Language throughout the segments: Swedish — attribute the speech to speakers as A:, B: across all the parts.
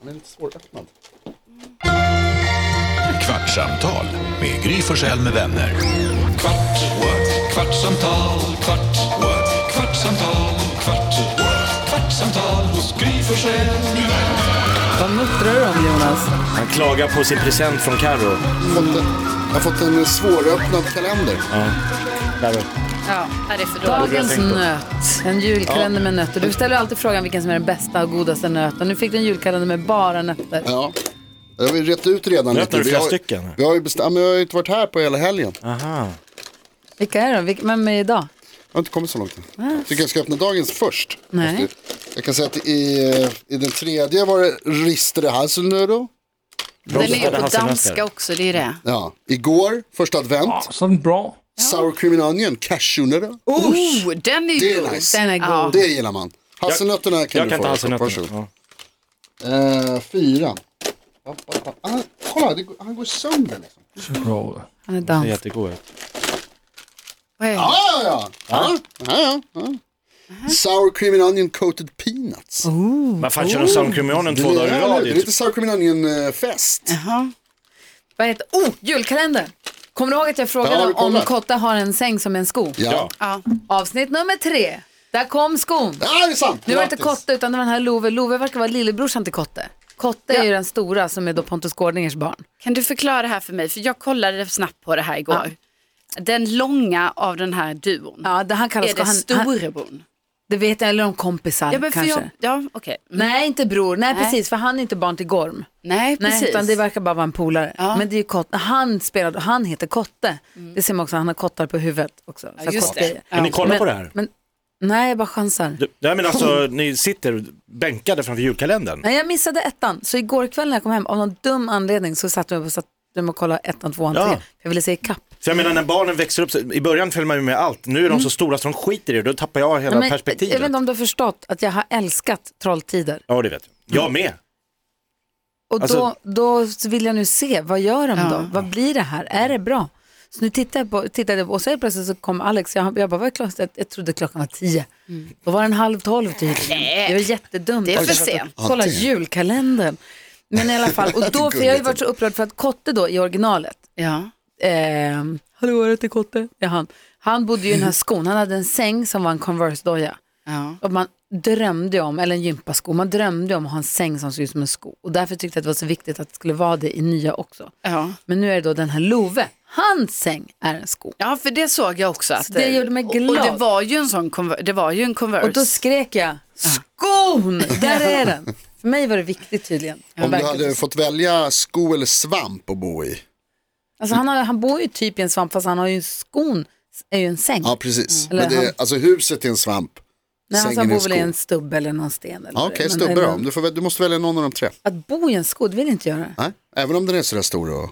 A: Den är lite svåröppnad.
B: Kvartsamtal med Gry Forssell med vänner. Kvart, what? kvartsamtal, kvart, what? kvartsamtal, kvart, what? kvartsamtal hos Gry Forssell med vänner.
C: Vad muttrar du om Jonas?
D: Han klagar på sin present från Carro.
A: Fått en, jag har fått en svåröppnad kalender.
D: Där.
C: Ja,
E: det är för dåligt.
C: dagens nöt. En julkalender med nötter. Du ställer alltid frågan vilken som är den bästa och godaste nöten. Nu fick du en julkalender med bara nötter.
A: Ja. Jag har ju rett ut redan
D: Rätt nu,
A: Vi
D: flera
A: har,
D: stycken.
A: Vi har ju bestämt, ja, men jag har ju inte varit här på hela helgen. Jag
D: Aha.
C: Vilka är de? Vilka, vem är idag?
A: har inte kommit så långt än. Jag tycker jag ska öppna dagens först.
C: Nej.
A: Jag kan säga att i, eh, i den tredje var det Ristere Hasselnödo.
E: Den är ju
D: Hade
E: på
D: Hasse
E: danska
D: Nötter.
E: också, det är det.
A: Ja. Igår, första advent,
F: Sånt bra.
A: Sour Cream and Onion, cashewnötter.
E: Oh, den är ju
A: Det är
E: god.
A: nice.
C: Den är
E: Ja.
C: god.
A: Det gillar man. Hasselnötterna kan
D: Jag
A: du
D: kan
A: få.
D: inte alls
A: Varsågod.
D: nötterna.
A: Eh, fyra. Ah, ah, ah. Kolla, det, går- han går sönder liksom.
F: Bra.
C: Han är
D: Ja,
C: dansk.
D: jättegod.
E: Mm. Vad är det?
A: Ah, ja, ja. Ah, ja, ja. Ah. Sour cream and onion coated peanuts.
C: Oh.
D: Vad fan kör de Soundcreamionen två dagar i
A: Ja,
D: rad?
A: Mm. Det är lite sour cream and onion eh, fest.
E: Jaha.
C: Vad heter, oh, julkalender! Kommer du ihåg att jag
A: Ja,
C: frågade
A: vi
C: om
A: kollar.
C: Kotta har en säng som en sko?
A: Ja.
E: Ja.
C: Avsnitt nummer tre. Där kom skon.
A: ja, det är sant.
C: Nu var det inte
A: Grattis.
C: Kotte utan det var den här Love. Love verkar vara lillebrorsan till Kotte. Kotte är ju den stora som är då Pontus Gårdingers barn.
E: Kan du förklara det här för mig? För jag kollade snabbt på det här igår. Den långa av den här duon.
C: Ja, det han kallas
E: Är det
C: han, han,
E: storebror?
C: Det vet jag, eller om kompisar
E: Ja, men för
C: kanske.
E: jag, ja, okej. Mm.
C: Nej, inte bror. Nej,
E: Nej.
C: precis, för han är inte barn till Gorm.
E: Nej,
C: Nej,
E: precis.
C: utan det verkar bara vara en polare.
E: Ja. Mm.
C: Men det är ju Kotte. Han spelade, han heter Kotte. Det ser man också, han har kottar på huvudet också. Så här
E: just
C: kotte-
E: det.
D: Men ni kollar
C: Men-
D: på det här?
C: Men, nej, jag bara chansar.
D: Du- Nej men alltså, ni sitter bänkade framför julkalendern.
C: Nej, jag missade ettan. Så igår kväll när jag kom hem, av någon dum anledning, så satt jag upp och satt dem och kollade ettan, tvåan,
D: Ja.
C: trean. För Jag ville se ikapp.
D: För jag menar när barnen växer upp, så- i början följer man ju med allt. Nu är
E: Mm.
D: de så stora så de skiter i det, då tappar jag hela
C: Men
D: perspektivet.
C: Jag vet inte om du har förstått att jag har älskat Trolltider.
D: Ja det vet jag. Jag med.
C: Och
D: Alltså-
C: då, då så vill jag nu se, vad gör de då? Vad blir det här? Är det bra? Så nu tittar jag på, tittade jag på, och så helt plötsligt så kom Alex, jag, jag bara, vad är klockan? Jag, jag trodde klockan var tio. Då var den halv tolv tydligen.
E: Mm. Nej.
C: Det var jättedumt.
E: Det är för
C: Jag satt och
E: sent.
C: Kolla
A: Ja, det.
C: julkalendern. Men i alla fall, och då, för jag har ju varit så upprörd för att Kotte då i originalet,
E: Ja.
C: eh, hallå är det till Kotte? Det är han. Han bodde ju i den
E: Mm.
C: här skon, han hade en säng som var en Converse-doja.
E: Ja.
C: Och man drömde om, eller en gympasko, man drömde om att ha en säng som såg ut som en sko. Och därför tyckte jag att det var så viktigt att det skulle vara det i nya också.
E: Ja.
C: Men nu är det då den här Love, hans säng är en sko.
E: ja, för det såg jag också. Att
C: Så det gjorde mig
E: och-
C: glad.
E: Och det var ju en sån Conver- det var ju en Converse.
C: Och då skrek jag, skon, där är den. För mig var det viktigt tydligen.
A: Om du
C: Verkligen.
A: hade fått välja sko eller svamp att bo i.
C: Alltså han, har, han bor ju typ i en svamp fast han har ju skon, är ju en säng.
A: Ja, precis.
C: Mm. Eller
A: Men det,
C: han-
A: är- alltså huset är en svamp.
C: Nej, alltså, han
A: sängen är
C: bor
A: en
C: väl i
A: sko.
C: en stubbe eller någon sten. eller
A: Ja,
C: vad
A: Okej,
C: det är. Men-
A: stubbe då.
C: eller-
A: Du, får, väl- du måste välja någon av de tre.
C: Att bo i en sko, det vill jag inte göra. Nej,
A: Nej? Även om den är sådär stor. Och...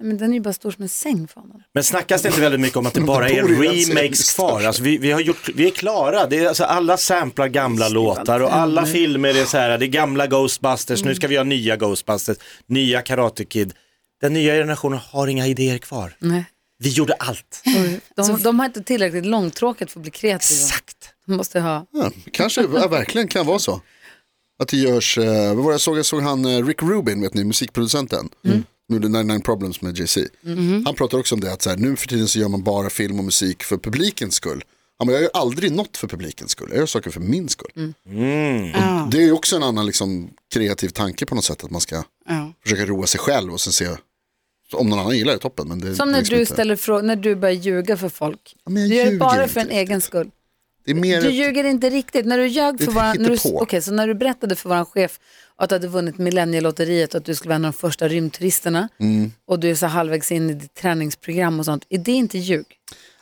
C: Men den är ju bara stor som en säng för honom.
D: Men snackas det inte väldigt mycket om att det bara är
A: bor i den serien,
D: remakes kvar? Alltså, vi, vi, har gjort, vi är klara, det är, alltså, alla samplar gamla låtar och alla filmer är så här, det är gamla Ghostbusters, nu ska vi ha nya Ghostbusters, nya Karate Kid. Den nya generationen har inga idéer kvar.
C: Nej.
D: Vi gjorde allt.
C: De, de har inte tillräckligt långtråkigt för att bli kreativa.
D: Exakt.
C: De måste ha.
A: Ja, kanske ja, verkligen kan vara så. Att det görs, eh, vad var det jag såg? Jag såg han eh, Rick Rubin, vet ni, musikproducenten. Mm. Nu gjorde 99 Problems med JC.
C: Mm-hmm.
A: Han pratar också om det, att så här, nu för tiden så gör man bara film och musik för publikens skull. Han bara, jag gör aldrig något för publikens skull, jag gör saker för min skull.
C: Mm.
E: ja.
A: Det är ju också en annan liksom, kreativ tanke på något sätt, att man ska
E: Ja.
A: försöka roa sig själv och sen se om någon annan gillar det, toppen. Men det,
C: Som
A: det är
C: när
A: liksom
C: du
A: inte-
C: ställer frågor, när du börjar ljuga för folk.
A: Ja, men jag
C: Du gör det
A: ljuger
C: bara
A: inte
C: för en egen skull.
A: Det är mer
C: Du
A: ett-
C: ljuger inte riktigt. När du ljög
A: Det är
C: för
A: ett
C: våran, när du,
A: hittepå.
C: okej, så när du berättade för våran chef att du hade vunnit Millennielotteriet och att du skulle vara en av de första rymdturisterna
A: Mm.
C: och du är så halvvägs in i ditt träningsprogram och sånt. Är det inte ljug?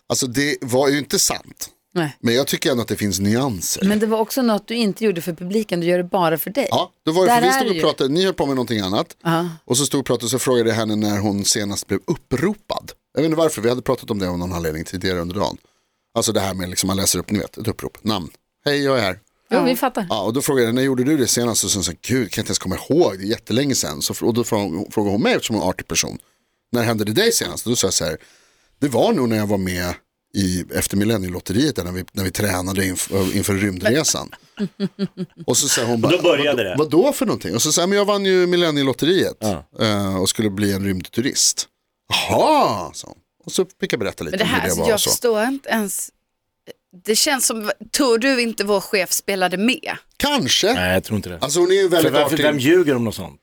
A: Alltså det var ju inte sant.
C: Nej.
A: Men jag tycker ändå att det finns nyanser.
C: Men det var också något du inte gjorde för publiken, du gör det bara för dig.
A: Ja, då var det,
C: Där
A: för vi
C: är
A: stod
C: det
A: och
C: ju.
A: pratade, ni höll på med någonting annat. Och så stod och pratade och så frågade jag henne när hon senast blev uppropad. Jag vet inte varför, vi hade pratat om det av någon anledning tidigare under dagen. Alltså det här med liksom, man läser upp, ni vet, ett upprop, namn. Hej, jag är här.
C: Jo, vi fattar.
A: Ja, och då frågade jag, när gjorde du det senast? Och sen sa jag, gud, kan inte ens komma ihåg, det är jättelänge sedan. Så, fr- och då frågade hon- frågade hon mig, eftersom hon är en artig person, när hände det dig senast? Och då sa jag så här, det var nog när jag var med i, efter Millennielotteriet där när vi, när vi tränade inf- inför rymdresan. och så säger hon bara,
D: då började
A: "Vadå-
D: det."
A: vadå för någonting? Och så säger jag, men jag vann ju Millennielotteriet eh, och skulle bli en rymdturist. Jaha, sa hon. Och så fick jag berätta lite
E: Men det
A: om
E: här,
A: hur det
E: alltså,
A: var
E: jag
A: och så.
E: förstår inte ens. Det känns som, tror du inte vår chef spelade med?
A: Kanske.
D: Nej, jag tror inte det.
A: Alltså hon är ju
D: För
A: väldigt
D: varför,
A: artig.
D: vem ljuger om något sånt?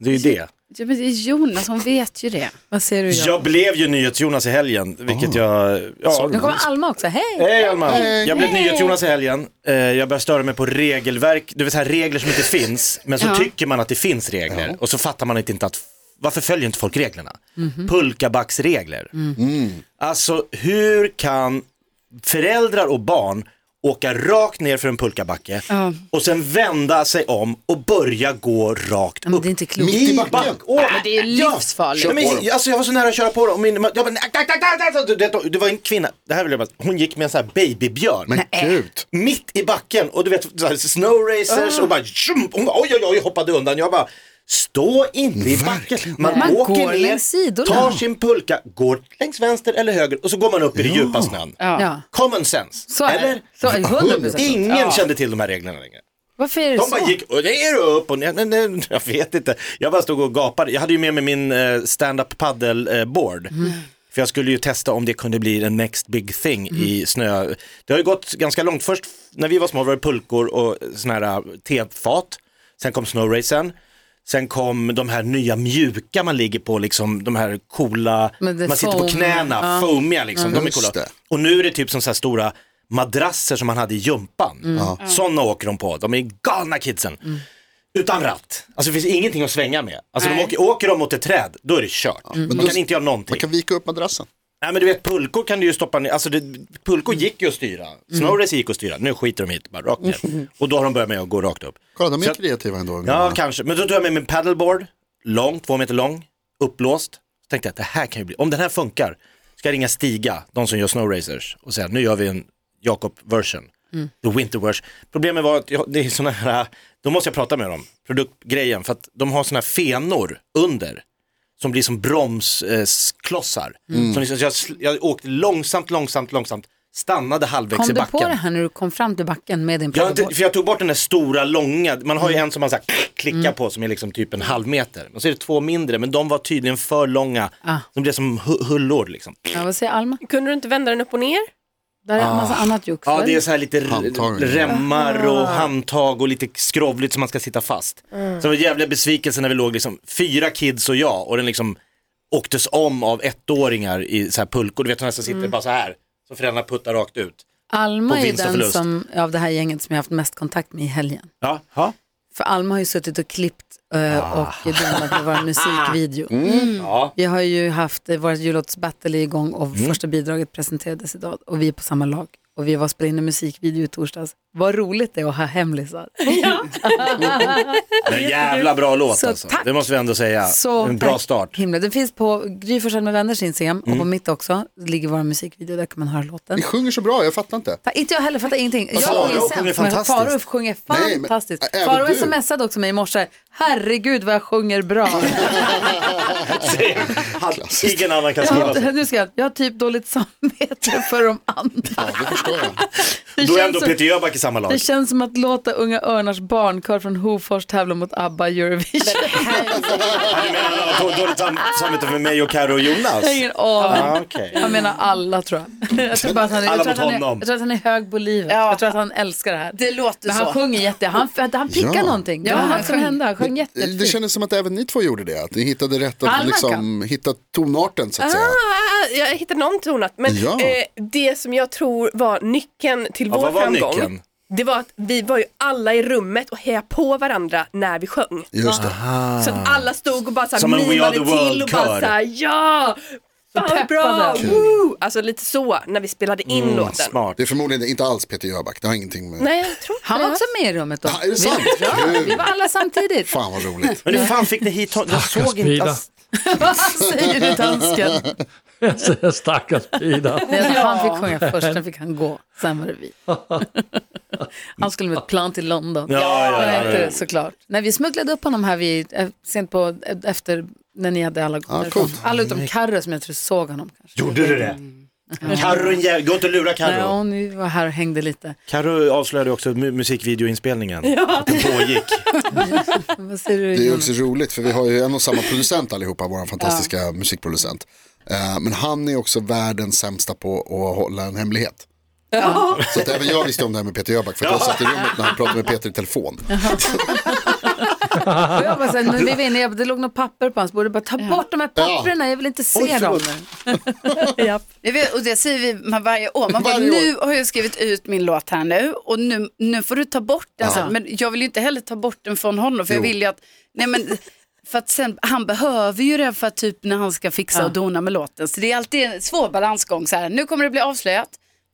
D: Det är ju det.
E: Ja, men det är Jonas, hon vet ju det.
C: Vad säger du John?
D: Jag blev ju NyhetsJonas i helgen, vilket jag... Ja.
C: Nu kommer Alma också, hej!
D: Hej Alma!
A: Hej.
D: Jag blev NyhetsJonas i helgen. Eh, Jag började störa mig på regelverk, du vet så här regler som inte finns, men så
E: Ja.
D: tycker man att det finns regler och så fattar man inte inte att varför följer inte folk reglerna?
C: Mhm.
D: Pulkabacksregler.
A: Mm.
D: Alltså hur kan föräldrar och barn åka rakt ner för en pulkabacke och sen vända sig om och börja gå rakt
C: Ja, men
D: upp?
C: det är inte klokt.
A: Mitt i backen.
D: Back, åh, äh,
E: men det är ju livsfarligt.
D: Ja,
A: Kör på
D: men,
A: dem.
D: alltså, jag var så nära att köra på dem. och Min, jag bara, "Ack, ack, ack, ack, ack." Du vet, det var en kvinna, det här vill jag bara, hon gick med en sån här babybjörn.
A: Men gud.
D: Mitt i backen och du vet så här, snow
C: Ah.
D: racers och bara, tjum, hon bara oj oj oj hoppade undan. Jag bara Stå inte i backen. Man,
C: Man
D: åker
C: går
D: ner,
C: längs sidorna.
D: tar sin pulka, går längs vänster eller höger och så går man upp i det djupa snön.
C: Ja.
D: Common sense.
C: Så är
D: eller?
C: det. Så är det, 100%.
D: Ingen kände till de här reglerna längre.
C: Varför är det
D: De bara
C: så?
D: gick och ner och upp och ner. Men, men, jag vet inte. Jag bara stod och gapade. Jag hade ju med mig min eh, stand-up paddleboard.
C: Mm.
D: För jag skulle ju testa om det kunde bli en next big thing
C: Mm.
D: i snö. Det har ju gått ganska långt. Först när vi var små var det pulkor och sådana här eh, tefat. Sen kom snowracen. Sen kom de här nya mjuka man ligger på, liksom de här coola,
C: Men det
D: man sitter på
C: foam,
D: knäna,
C: ja.
D: foamiga liksom. De är
A: Mm. Just
D: coola.
A: det.
D: Och nu är det typ som så här stora madrasser som man hade i gympan.
A: Mm.
D: Såna Sådana åker de på, de är galna kidsen. Utan ratt, alltså det finns ingenting att svänga med. Alltså de
E: Nej.
D: åker, åker de mot ett träd, då är det kört. Man
A: Men
D: kan
A: då-
D: inte göra någonting.
A: Man kan vika upp madrassen.
D: Nej men du vet pulkor kan du ju stoppa ner, alltså det, pulkor gick ju att styra.
A: Mm.
D: Snowrace gick att styra, nu skiter de hit, bara rakt ner. Och då har de börjat med att gå rakt upp.
A: Kolla, de
D: Så
A: är
D: att-
A: kreativa ändå.
D: Ja, kanske. Men då tog jag med min paddleboard, lång, två meter lång, uppblåst. Så tänkte jag att det här kan ju bli, om den här funkar, ska jag ringa Stiga, de som gör snowracers, och säga nu gör vi en Jakob-version,
C: Mm.
D: the winter version. Problemet var att jag, det är såna här, då måste jag prata med dem, produktgrejen, för att de har såna här fenor under som blir som bromsklossar. Mm. Liksom, så jag, sl- jag åkte långsamt, långsamt, långsamt, stannade halvvägs i
C: Kom du
D: backen.
C: på det här när du kom fram till backen med din
D: Jag, har inte-
C: paddleboard?
D: för jag tog bort den där stora långa, man har ju en som man så här klickar på som är liksom typ en halv meter. Och så är det två mindre, men de var tydligen för långa.
C: Ah.
D: De blev som hu- hullor liksom.
C: Ja, vad säger Alma?
F: Kunde du inte vända den upp och ner?
C: Där är en massa annat jox.
D: Ah. Ja,
C: väl?
D: det är så här lite r-
A: Handtag.
D: remmar och handtag och lite skrovligt som man ska sitta fast. Så det var jävla besvikelse när vi låg liksom, fyra kids och jag och den liksom åktes om av ettåringar i så här pulkor. Du vet när som sitter bara så här, så föräldrarna puttar rakt ut.
C: Alma
D: på
C: är ju
D: vinst och
C: den
D: förlust.
C: som, av det här gänget som jag har haft mest kontakt med i helgen.
D: Ja, ja.
C: För Alma har ju suttit och klippt eh,
D: Ah.
C: och donat med vår musikvideo.
D: Mm.
C: Mm.
D: ja.
C: Vi har ju haft, eh, vårt jullåtsbattle är igång och
D: Mm.
C: första bidraget presenterades idag och vi är på samma lag. Och vi var och spelade in en musikvideo i torsdags. Vad roligt det är att ha hemlisar.
D: Men jävla bra låt
C: Så
D: alltså.
C: tack.
D: Det måste vi ändå säga.
C: Så
D: en bra
C: tack,
D: start.
C: Himla. Den finns på Gry Forssell med vänners Instagram och på mitt också. Det ligger vår musikvideo, där kan man höra låten.
A: Ni sjunger så bra, jag fattar inte.
C: Fa- Inte jag heller, fattar ingenting. Jag
D: Farao
C: sjunger
D: sjunger
C: sämst, men
D: fantastiskt.
C: Farao sjunger
A: Nej, men-
C: fantastiskt.
A: Ä- även
C: Farao
A: du.
C: smsade också mig i morse, herregud vad jag sjunger bra.
D: Ingen annan kan alltså.
C: jag,
D: skriva så.
C: har, nu ska jag, jag har typ dåligt samvete för de andra.
A: Ja, det förstår jag.
C: Det
D: Då är
C: känns
D: ändå
C: som-
D: Peter Jöback i samma lag.
C: Det känns som att låta Unga Örnars barnkör från Hofors tävla mot ABBA i Eurovision.
D: Han menar han har då- dåligt sam- samvete med mig och Karo och Jonas.
C: Jag har ingen aning.
D: Ah, okej.
C: Jag menar alla tror jag. Jag tror, bara att han är, jag
D: Alla
C: tror, att
D: mot
C: han är,
D: honom.
C: jag tror att han är hög på livet.
E: Ja.
C: Jag tror att han älskar det här.
E: Det låter
C: Men han
E: så.
C: sjunger jätte, han, han pickar
A: Ja.
C: någonting. Det
E: Ja,
C: var han
E: han
C: som
E: sjöng.
C: hände, han sjöng jättefint.
A: Det kändes som att även ni två gjorde det, att ni hittade rätt, att
C: Alla
A: liksom,
C: kan.
A: hitta tonarten så att säga.
F: Ah, jag hittade någon tonart, men
A: Ja.
F: eh, det som jag tror var nyckeln till
D: Ja,
F: vår
D: vad var
F: framgång,
D: nyckeln?
F: det var att vi var ju alla i rummet och hejade på varandra när vi sjöng.
A: Just det.
F: Så att alla stod och bara så
D: Ah.
F: här
D: Som en We
F: mimade
D: Are The World
F: till och bara
D: kör.
F: så här, ja, fan vad bra,
C: peppade.
F: woo! Alltså lite så när vi spelade in
D: Mm.
F: låten.
D: Smart.
A: Det är förmodligen inte alls Peter Jöback, det har ingenting med...
F: Nej, jag tror inte
C: Han var
F: det.
C: också med i rummet då.
A: Ja, är det sant?
C: Ja,
A: Kul.
C: vi var alla samtidigt.
A: Fan vad roligt.
D: Men hur fan fick ni hit honom? Jag såg inte. ass-
C: Vad säger du dansken?
G: Mm. Stackars Pida.
C: Nej, alltså, Han fick sjunga först, sen fick han gå. Sen var det vi. Han skulle med ett plan till London.
D: Ja, ja,
C: Vad
D: ja,
C: heter
D: ja.
C: det såklart. Nej, vi smugglade upp honom här vid, eh, sent på, efter när ni hade alla gått
A: Ja,
C: därifrån.
A: coolt.
C: Alla utom Carro som jag tror såg honom. Kanske.
D: Gjorde du det? Karun Jä- gå inte och lura
C: Nej,
D: Karro.
C: hon var här och hängde lite.
D: Karro avslöjade också mu- musikvideoinspelningen. Att den pågick.
C: Vad säger du?
A: Det är
C: Jonas?
A: också roligt för vi har ju en och samma producent allihopa, vår fantastiska musikproducent. Eh, Men han är också världens sämsta på att hålla en hemlighet. Så att även jag visste om det här med Peter Jöback för att jag satt i rummet när han pratade med Peter i telefon.
C: Och jag bara så här, men vi vinner, det låg något papper på hans bord. Jag bara, ta bort de här papperna, jag vill inte se dem.
E: Jag vet, och det säger vi man varje år. Man bara,
A: Varje år.
E: nu har jag skrivit ut min låt här nu och nu, nu får du ta bort den. Så, men jag vill ju inte heller ta bort den från honom för jag vill ju att, nej men, för att sen, han behöver ju det för att typ när han ska fixa och dona med låten. Så det är alltid en svår balansgång så här, nu kommer det bli avslöjat.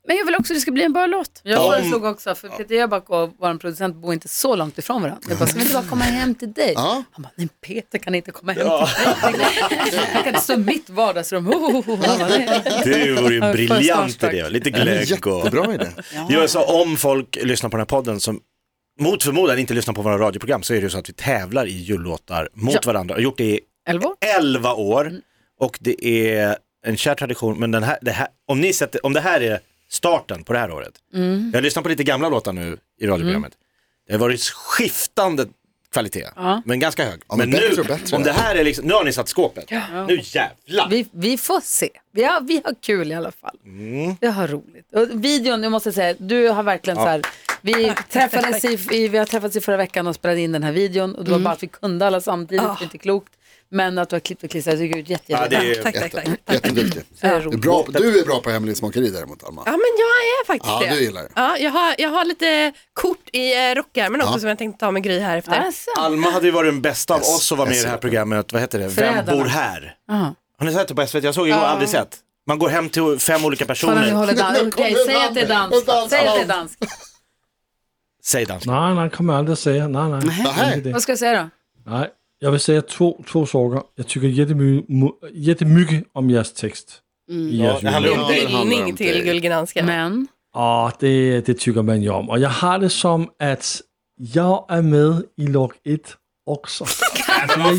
E: Men jag vill också att det ska bli en bra låt.
C: Jag föreslog också, för Peter Jöback och vår producent bor inte så långt ifrån varandra. Jag bara, ska vi inte bara komma hem till dig?
A: Ja.
C: Han bara, nej Peter kan inte komma hem till mig. Han kan inte stå i mitt vardagsrum. Ho, ho, ho. Han bara, nej.
D: Det vore ju en briljant
C: Försvarstack.
D: idé. Lite
A: Det är en
D: glögg och...
A: jättebra idé.
D: Jo, alltså, om folk lyssnar på den här podden som mot förmodan inte lyssnar på våra radioprogram så är det ju så att vi tävlar i jullåtar mot varandra. Jag har gjort det i
C: Elva år?
D: 11 år och det är en kär tradition. Men den här, det här, om, ni sätter, om det här är starten på det här året. Jag har lyssnat på lite gamla låtar nu i radioprogrammet. Det har varit skiftande kvalitet, men ganska hög.
A: Ja,
D: men
A: men bättre
D: nu,
A: och bättre.
D: om det här är liksom, nu har ni satt skåpet. Nu jävlar!
C: Vi, vi får se. Vi har, vi har kul i alla fall. Vi har roligt. Och videon, jag måste säga, du har verkligen så här, vi, träffades i, i, vi har träffats i förra veckan och spelade in den här videon och det var bara att vi kunde alla samtidigt, det är inte klokt. Men att du har klippt och klistrat, jag tycker det är jätte,
D: Ja,
C: jätte,
D: det
C: jätte,
D: är,
F: Tack, tack, tack.
A: Jätte- Jätteduktig.
C: det är
A: Du är,
C: roligt.
A: bra, du är bra på hemlighetsmakeri däremot Alma.
F: Ja, men jag är faktiskt
A: Ja,
F: det.
A: du gillar det.
F: Ja, jag, har, jag har lite kort i eh, rockärmen också som jag tänkte ta med Gry här efter.
C: Alltså,
D: Alma hade ju varit den bästa av
A: Yes,
D: oss som var med i
A: yes.
D: det här programmet, vad heter det,
C: Förrädarna.
D: Vem bor här?
C: aha.
D: Har ni sett det på SVT? Jag såg igår, aldrig sett. Man går hem till fem olika
C: Kolla nu
D: personer.
C: håller dans.
A: Nu kommer
C: Okej, säg att det är dans.
A: dansen. Dansen.
C: Säg att det är dans.
D: Säg dansk.
G: Nej, nej, kommer jag aldrig säga. Nej, nej.
A: Nähä.
G: Ingen idé.
C: Vad ska jag säga då?
G: nej. Jag vill säga två, två saker. Jag tycker jättemy- mu- jättemycket om deras text. I
D: Ja,
G: deras
D: det handlar
G: julbok.
D: om dig.
F: Hyllning till Gulgen Hanska.
C: Men,
G: Ja, Ah, det, det tycker man ju om. Och jag har det som att jag är med i lag 1 också. Alltså, jag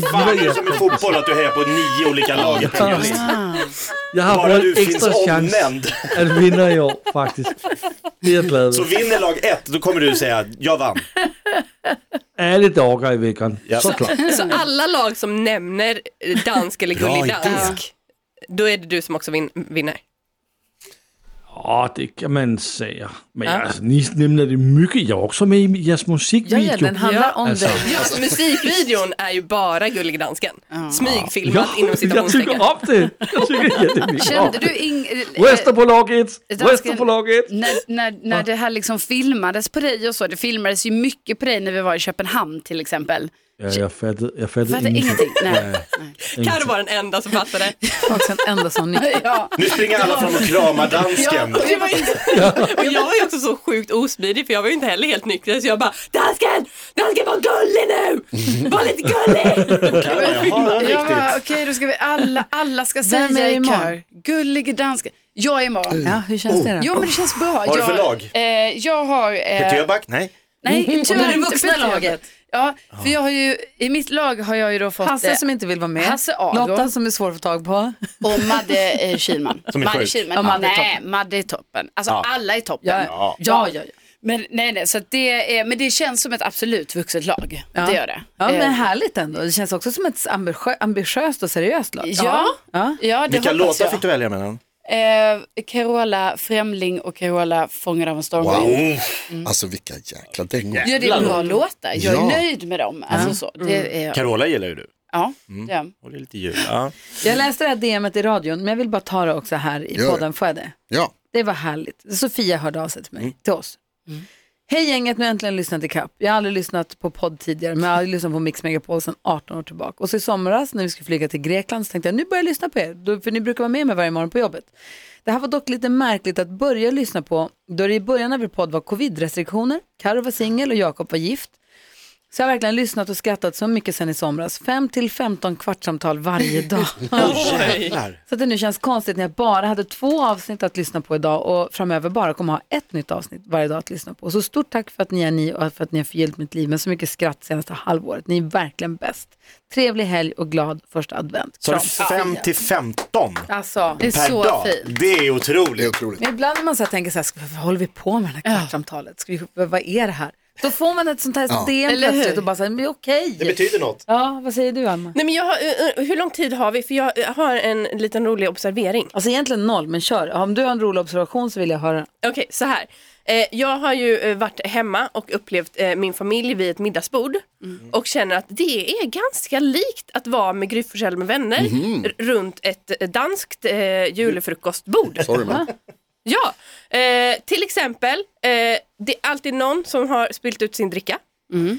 D: Fan, det
G: gillar
D: är
G: ju-
D: som i fotboll att du hejar på nio olika lag i Premier League.
G: Jag har
D: Bara
G: fått
D: du
G: en
D: finns
G: extra chans
D: omnämnd.
G: att vinna i år faktiskt. Det är jag glad över.
D: Så vinner lag ett, då kommer du säga jag vann.
G: Alla dagar i veckan,
D: Ja.
G: såklart.
F: Så alla lag som nämner dansk eller
D: Bra
F: gullig
D: idé.
F: dansk, då är det du som också vin- vinner.
G: Ja, det kan man säga. Men jag, alltså, ni nämner det mycket. Jag är också med i deras
C: ja, ja,
G: musikvideo.
C: den handlar om
G: Alltså.
C: dig.
F: Ja, musikvideon är ju bara gullig dansken. Smygfilmat inom
G: jag tycker
F: citationstecken.
G: om det. Jag tycker jättemycket om
E: Kände
G: det.
E: du ing- eh,
G: Rösta på lag 1!
E: dansken-
G: Rösta på lag 1!
E: när, när, när det här liksom filmades på dig och så, det filmades ju mycket på dig när vi var i Köpenhamn till exempel.
G: Ja, jag fattade, jag fattade,
E: Fattar ingenting. Nej.
F: Karo var den enda som fattade.
C: Också en enda sån nyckel.
E: Ja.
D: Nu springer alla fram och kramar dansken.
F: Och jag var ju, och jag var ju också så sjukt osmidig för jag var ju inte heller helt nykter så jag bara Dansken! Dansken var gullig nu! Var lite gullig!
D: Jaha, det
E: Ja,
D: är
E: okej,
D: riktigt.
E: då ska vi alla, alla ska säga
C: är
E: i
C: imorgon?
E: kör. Gullig dansken. Jag är imorgon.
C: Ja, hur känns det då?
E: Jo, men det känns bra.
D: Vad Mm. har du
E: jag,
D: för lag?
E: Eh, jag har... Eh,
D: Peter Jöback? Nej.
E: Nej,
C: Och Mm. det är det
E: inte
C: vuxna
E: Peter Jöback.
C: laget.
E: Ja, för jag har ju, i mitt lag har jag ju då fått
C: Hasse
E: eh,
C: som inte vill vara med.
E: Hasse Aro.
C: Lotta som är svår att få tag på.
E: och Madde eh, Kihlman.
D: Som är
E: Madde
D: sjuk.
E: Kihlman.
C: Ja, Madde är
E: nej, Madde är toppen. Alltså alla är toppen.
C: Ja, ja, ja.
E: Men, nej, nej, så att det är, men det känns som ett absolut vuxet lag. Det gör det.
C: Ja,
E: Eh,
C: men härligt ändå. Det känns också som ett ambitiö- ambitiöst och seriöst lag.
E: Ja,
C: Ja.
E: ja. ja det
D: Vilka
E: hoppas
D: låtar
E: jag.
D: fick du välja mellan?
E: Eh, Carola Främling och Carola Fångad av en stormvind.
A: Wow. Alltså vilka jäkla dängor.
E: Ja, det är bra låtar. Jag är
A: Ja.
E: nöjd med dem. Alltså, så. Det är,
D: Carola gillar ju du.
E: ja,
A: Mm.
E: det är.
D: Och det är lite jul. Ja.
C: Jag läste det här DMet i radion, men jag vill bara ta det också här i
A: Gör det.
C: podden. Får jag det?
A: Ja,
C: Det var härligt. Sofia hörde av sig till mig, till oss. Hej gänget, nu har jag äntligen lyssnat ikapp. Jag har aldrig lyssnat på podd tidigare, men jag har lyssnat på Mix Megapol sedan 18 år tillbaka. Och så i somras när vi skulle flyga till Grekland så tänkte jag, nu börjar jag lyssna på er, då- för ni brukar vara med mig varje morgon på jobbet. Det här var dock lite märkligt att börja lyssna på, då det i början av er podd var covid-restriktioner, Karo var singel och Jakob var gift. Så jag har verkligen lyssnat och skrattat så mycket sen i somras. 5 till 15 kvartssamtal varje dag.
D: Jävlar.
C: Så att det nu känns konstigt när jag bara hade två avsnitt att lyssna på idag och framöver bara kommer ha ett nytt avsnitt varje dag att lyssna på. Så stort tack för att ni är ni och för att ni har förgyllt mitt liv med så mycket skratt senaste halvåret. Ni är verkligen bäst. Trevlig helg och glad första advent.
D: Så
C: Kram.
D: 5 till 15
C: Alltså,
E: Det är
D: per
E: så
D: dag.
E: fint.
D: Det är
A: Det är
D: otroligt.
A: otroligt.
C: men ibland när man så här tänker så här, "Ska- vad håller vi på med det här kvartssamtalet? Ska vi, vad vad är det här? Då får man ett sånt här
A: Ja.
C: DM
E: Eller hur?
C: plötsligt och bara så här, men okej.
D: Det betyder något.
C: Ja, vad säger du Alma?
F: Nej, men jag har, eh, eh, hur lång tid har vi? För jag eh, har en liten rolig observering.
C: Alltså egentligen noll, men kör. Om du har en rolig observation så vill jag höra.
F: Okej, så här. Eh, jag har ju eh, varit hemma och upplevt eh, min familj vid ett middagsbord
A: Mm.
F: och känner att det är ganska likt att vara med Gry Forssell med vänner
A: Mhm.
F: r- runt ett eh, danskt eh, julfrukostbord.
A: Sorry man.
F: Ja, eh, till exempel, eh, det är alltid någon som har spilt ut sin dricka.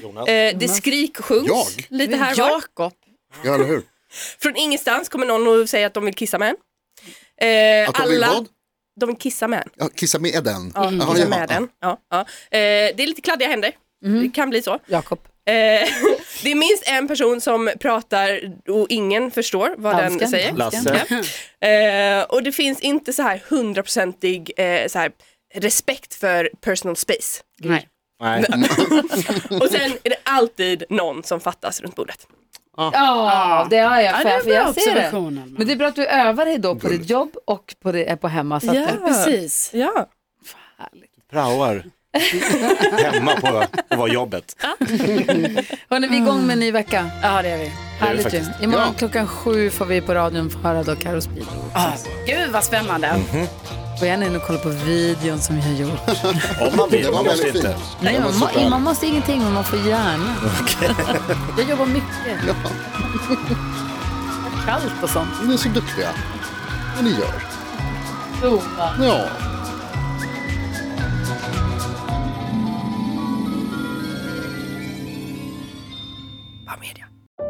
D: Jonas.
F: Eh, det skriksjungs
A: Jag?
F: lite här och var.
E: Jakob.
A: Ja, eller hur?
F: Från ingenstans kommer någon och säger att de vill kissa med en. Eh,
A: Att de vill vad?
F: De vill kissa med en.
A: Ja, kissa med den.
F: Ja,
A: Jaha,
F: kissa
A: jaha,
F: med
A: ja.
F: en. Ja, ja. Eh, det är lite kladdiga händer. Det kan bli så.
C: Jakob.
F: Eh, det är minst en person som pratar och ingen förstår vad den
C: Dansken.
F: säger.
D: Lasse.
F: Eh, och det finns inte så här hundraprocentig eh, så här, respekt för personal space.
E: Nej.
D: Nej.
F: Och sen är det alltid någon som fattas runt bordet.
C: Ja, det har jag.
E: det är
C: för- för
E: bra
C: jag ser det.
E: observation, Alma.
C: Men det är bra att du övar dig då på ditt jobb och på, det, eh, på hemma. Så att
F: Ja.
C: det,
E: Precis.
F: Ja.
D: Praoar. Hemma på, på vad jobbet.
C: Hörni, vi är igång med en ny vecka.
E: Ja, det är vi.
C: Härligt ju.
D: faktiskt.
C: Imorgon
A: Ja.
C: klockan sju får vi på radion få höra då Carros bil.
E: Ah, gud vad spännande.
C: Och jag är inne och kollar på videon som vi har gjort.
D: Om man
A: Det
D: vill,
A: var
D: man måste
A: väldigt
D: inte.
A: fint.
C: Nej, man,
A: så bra.
C: må- man måste ingenting, men man får gärna. Jag jobbar mycket.
A: Ja,
C: Kallt och sånt.
A: ni är så duktiga. Vad ni gör.
C: Prova.
A: Ja.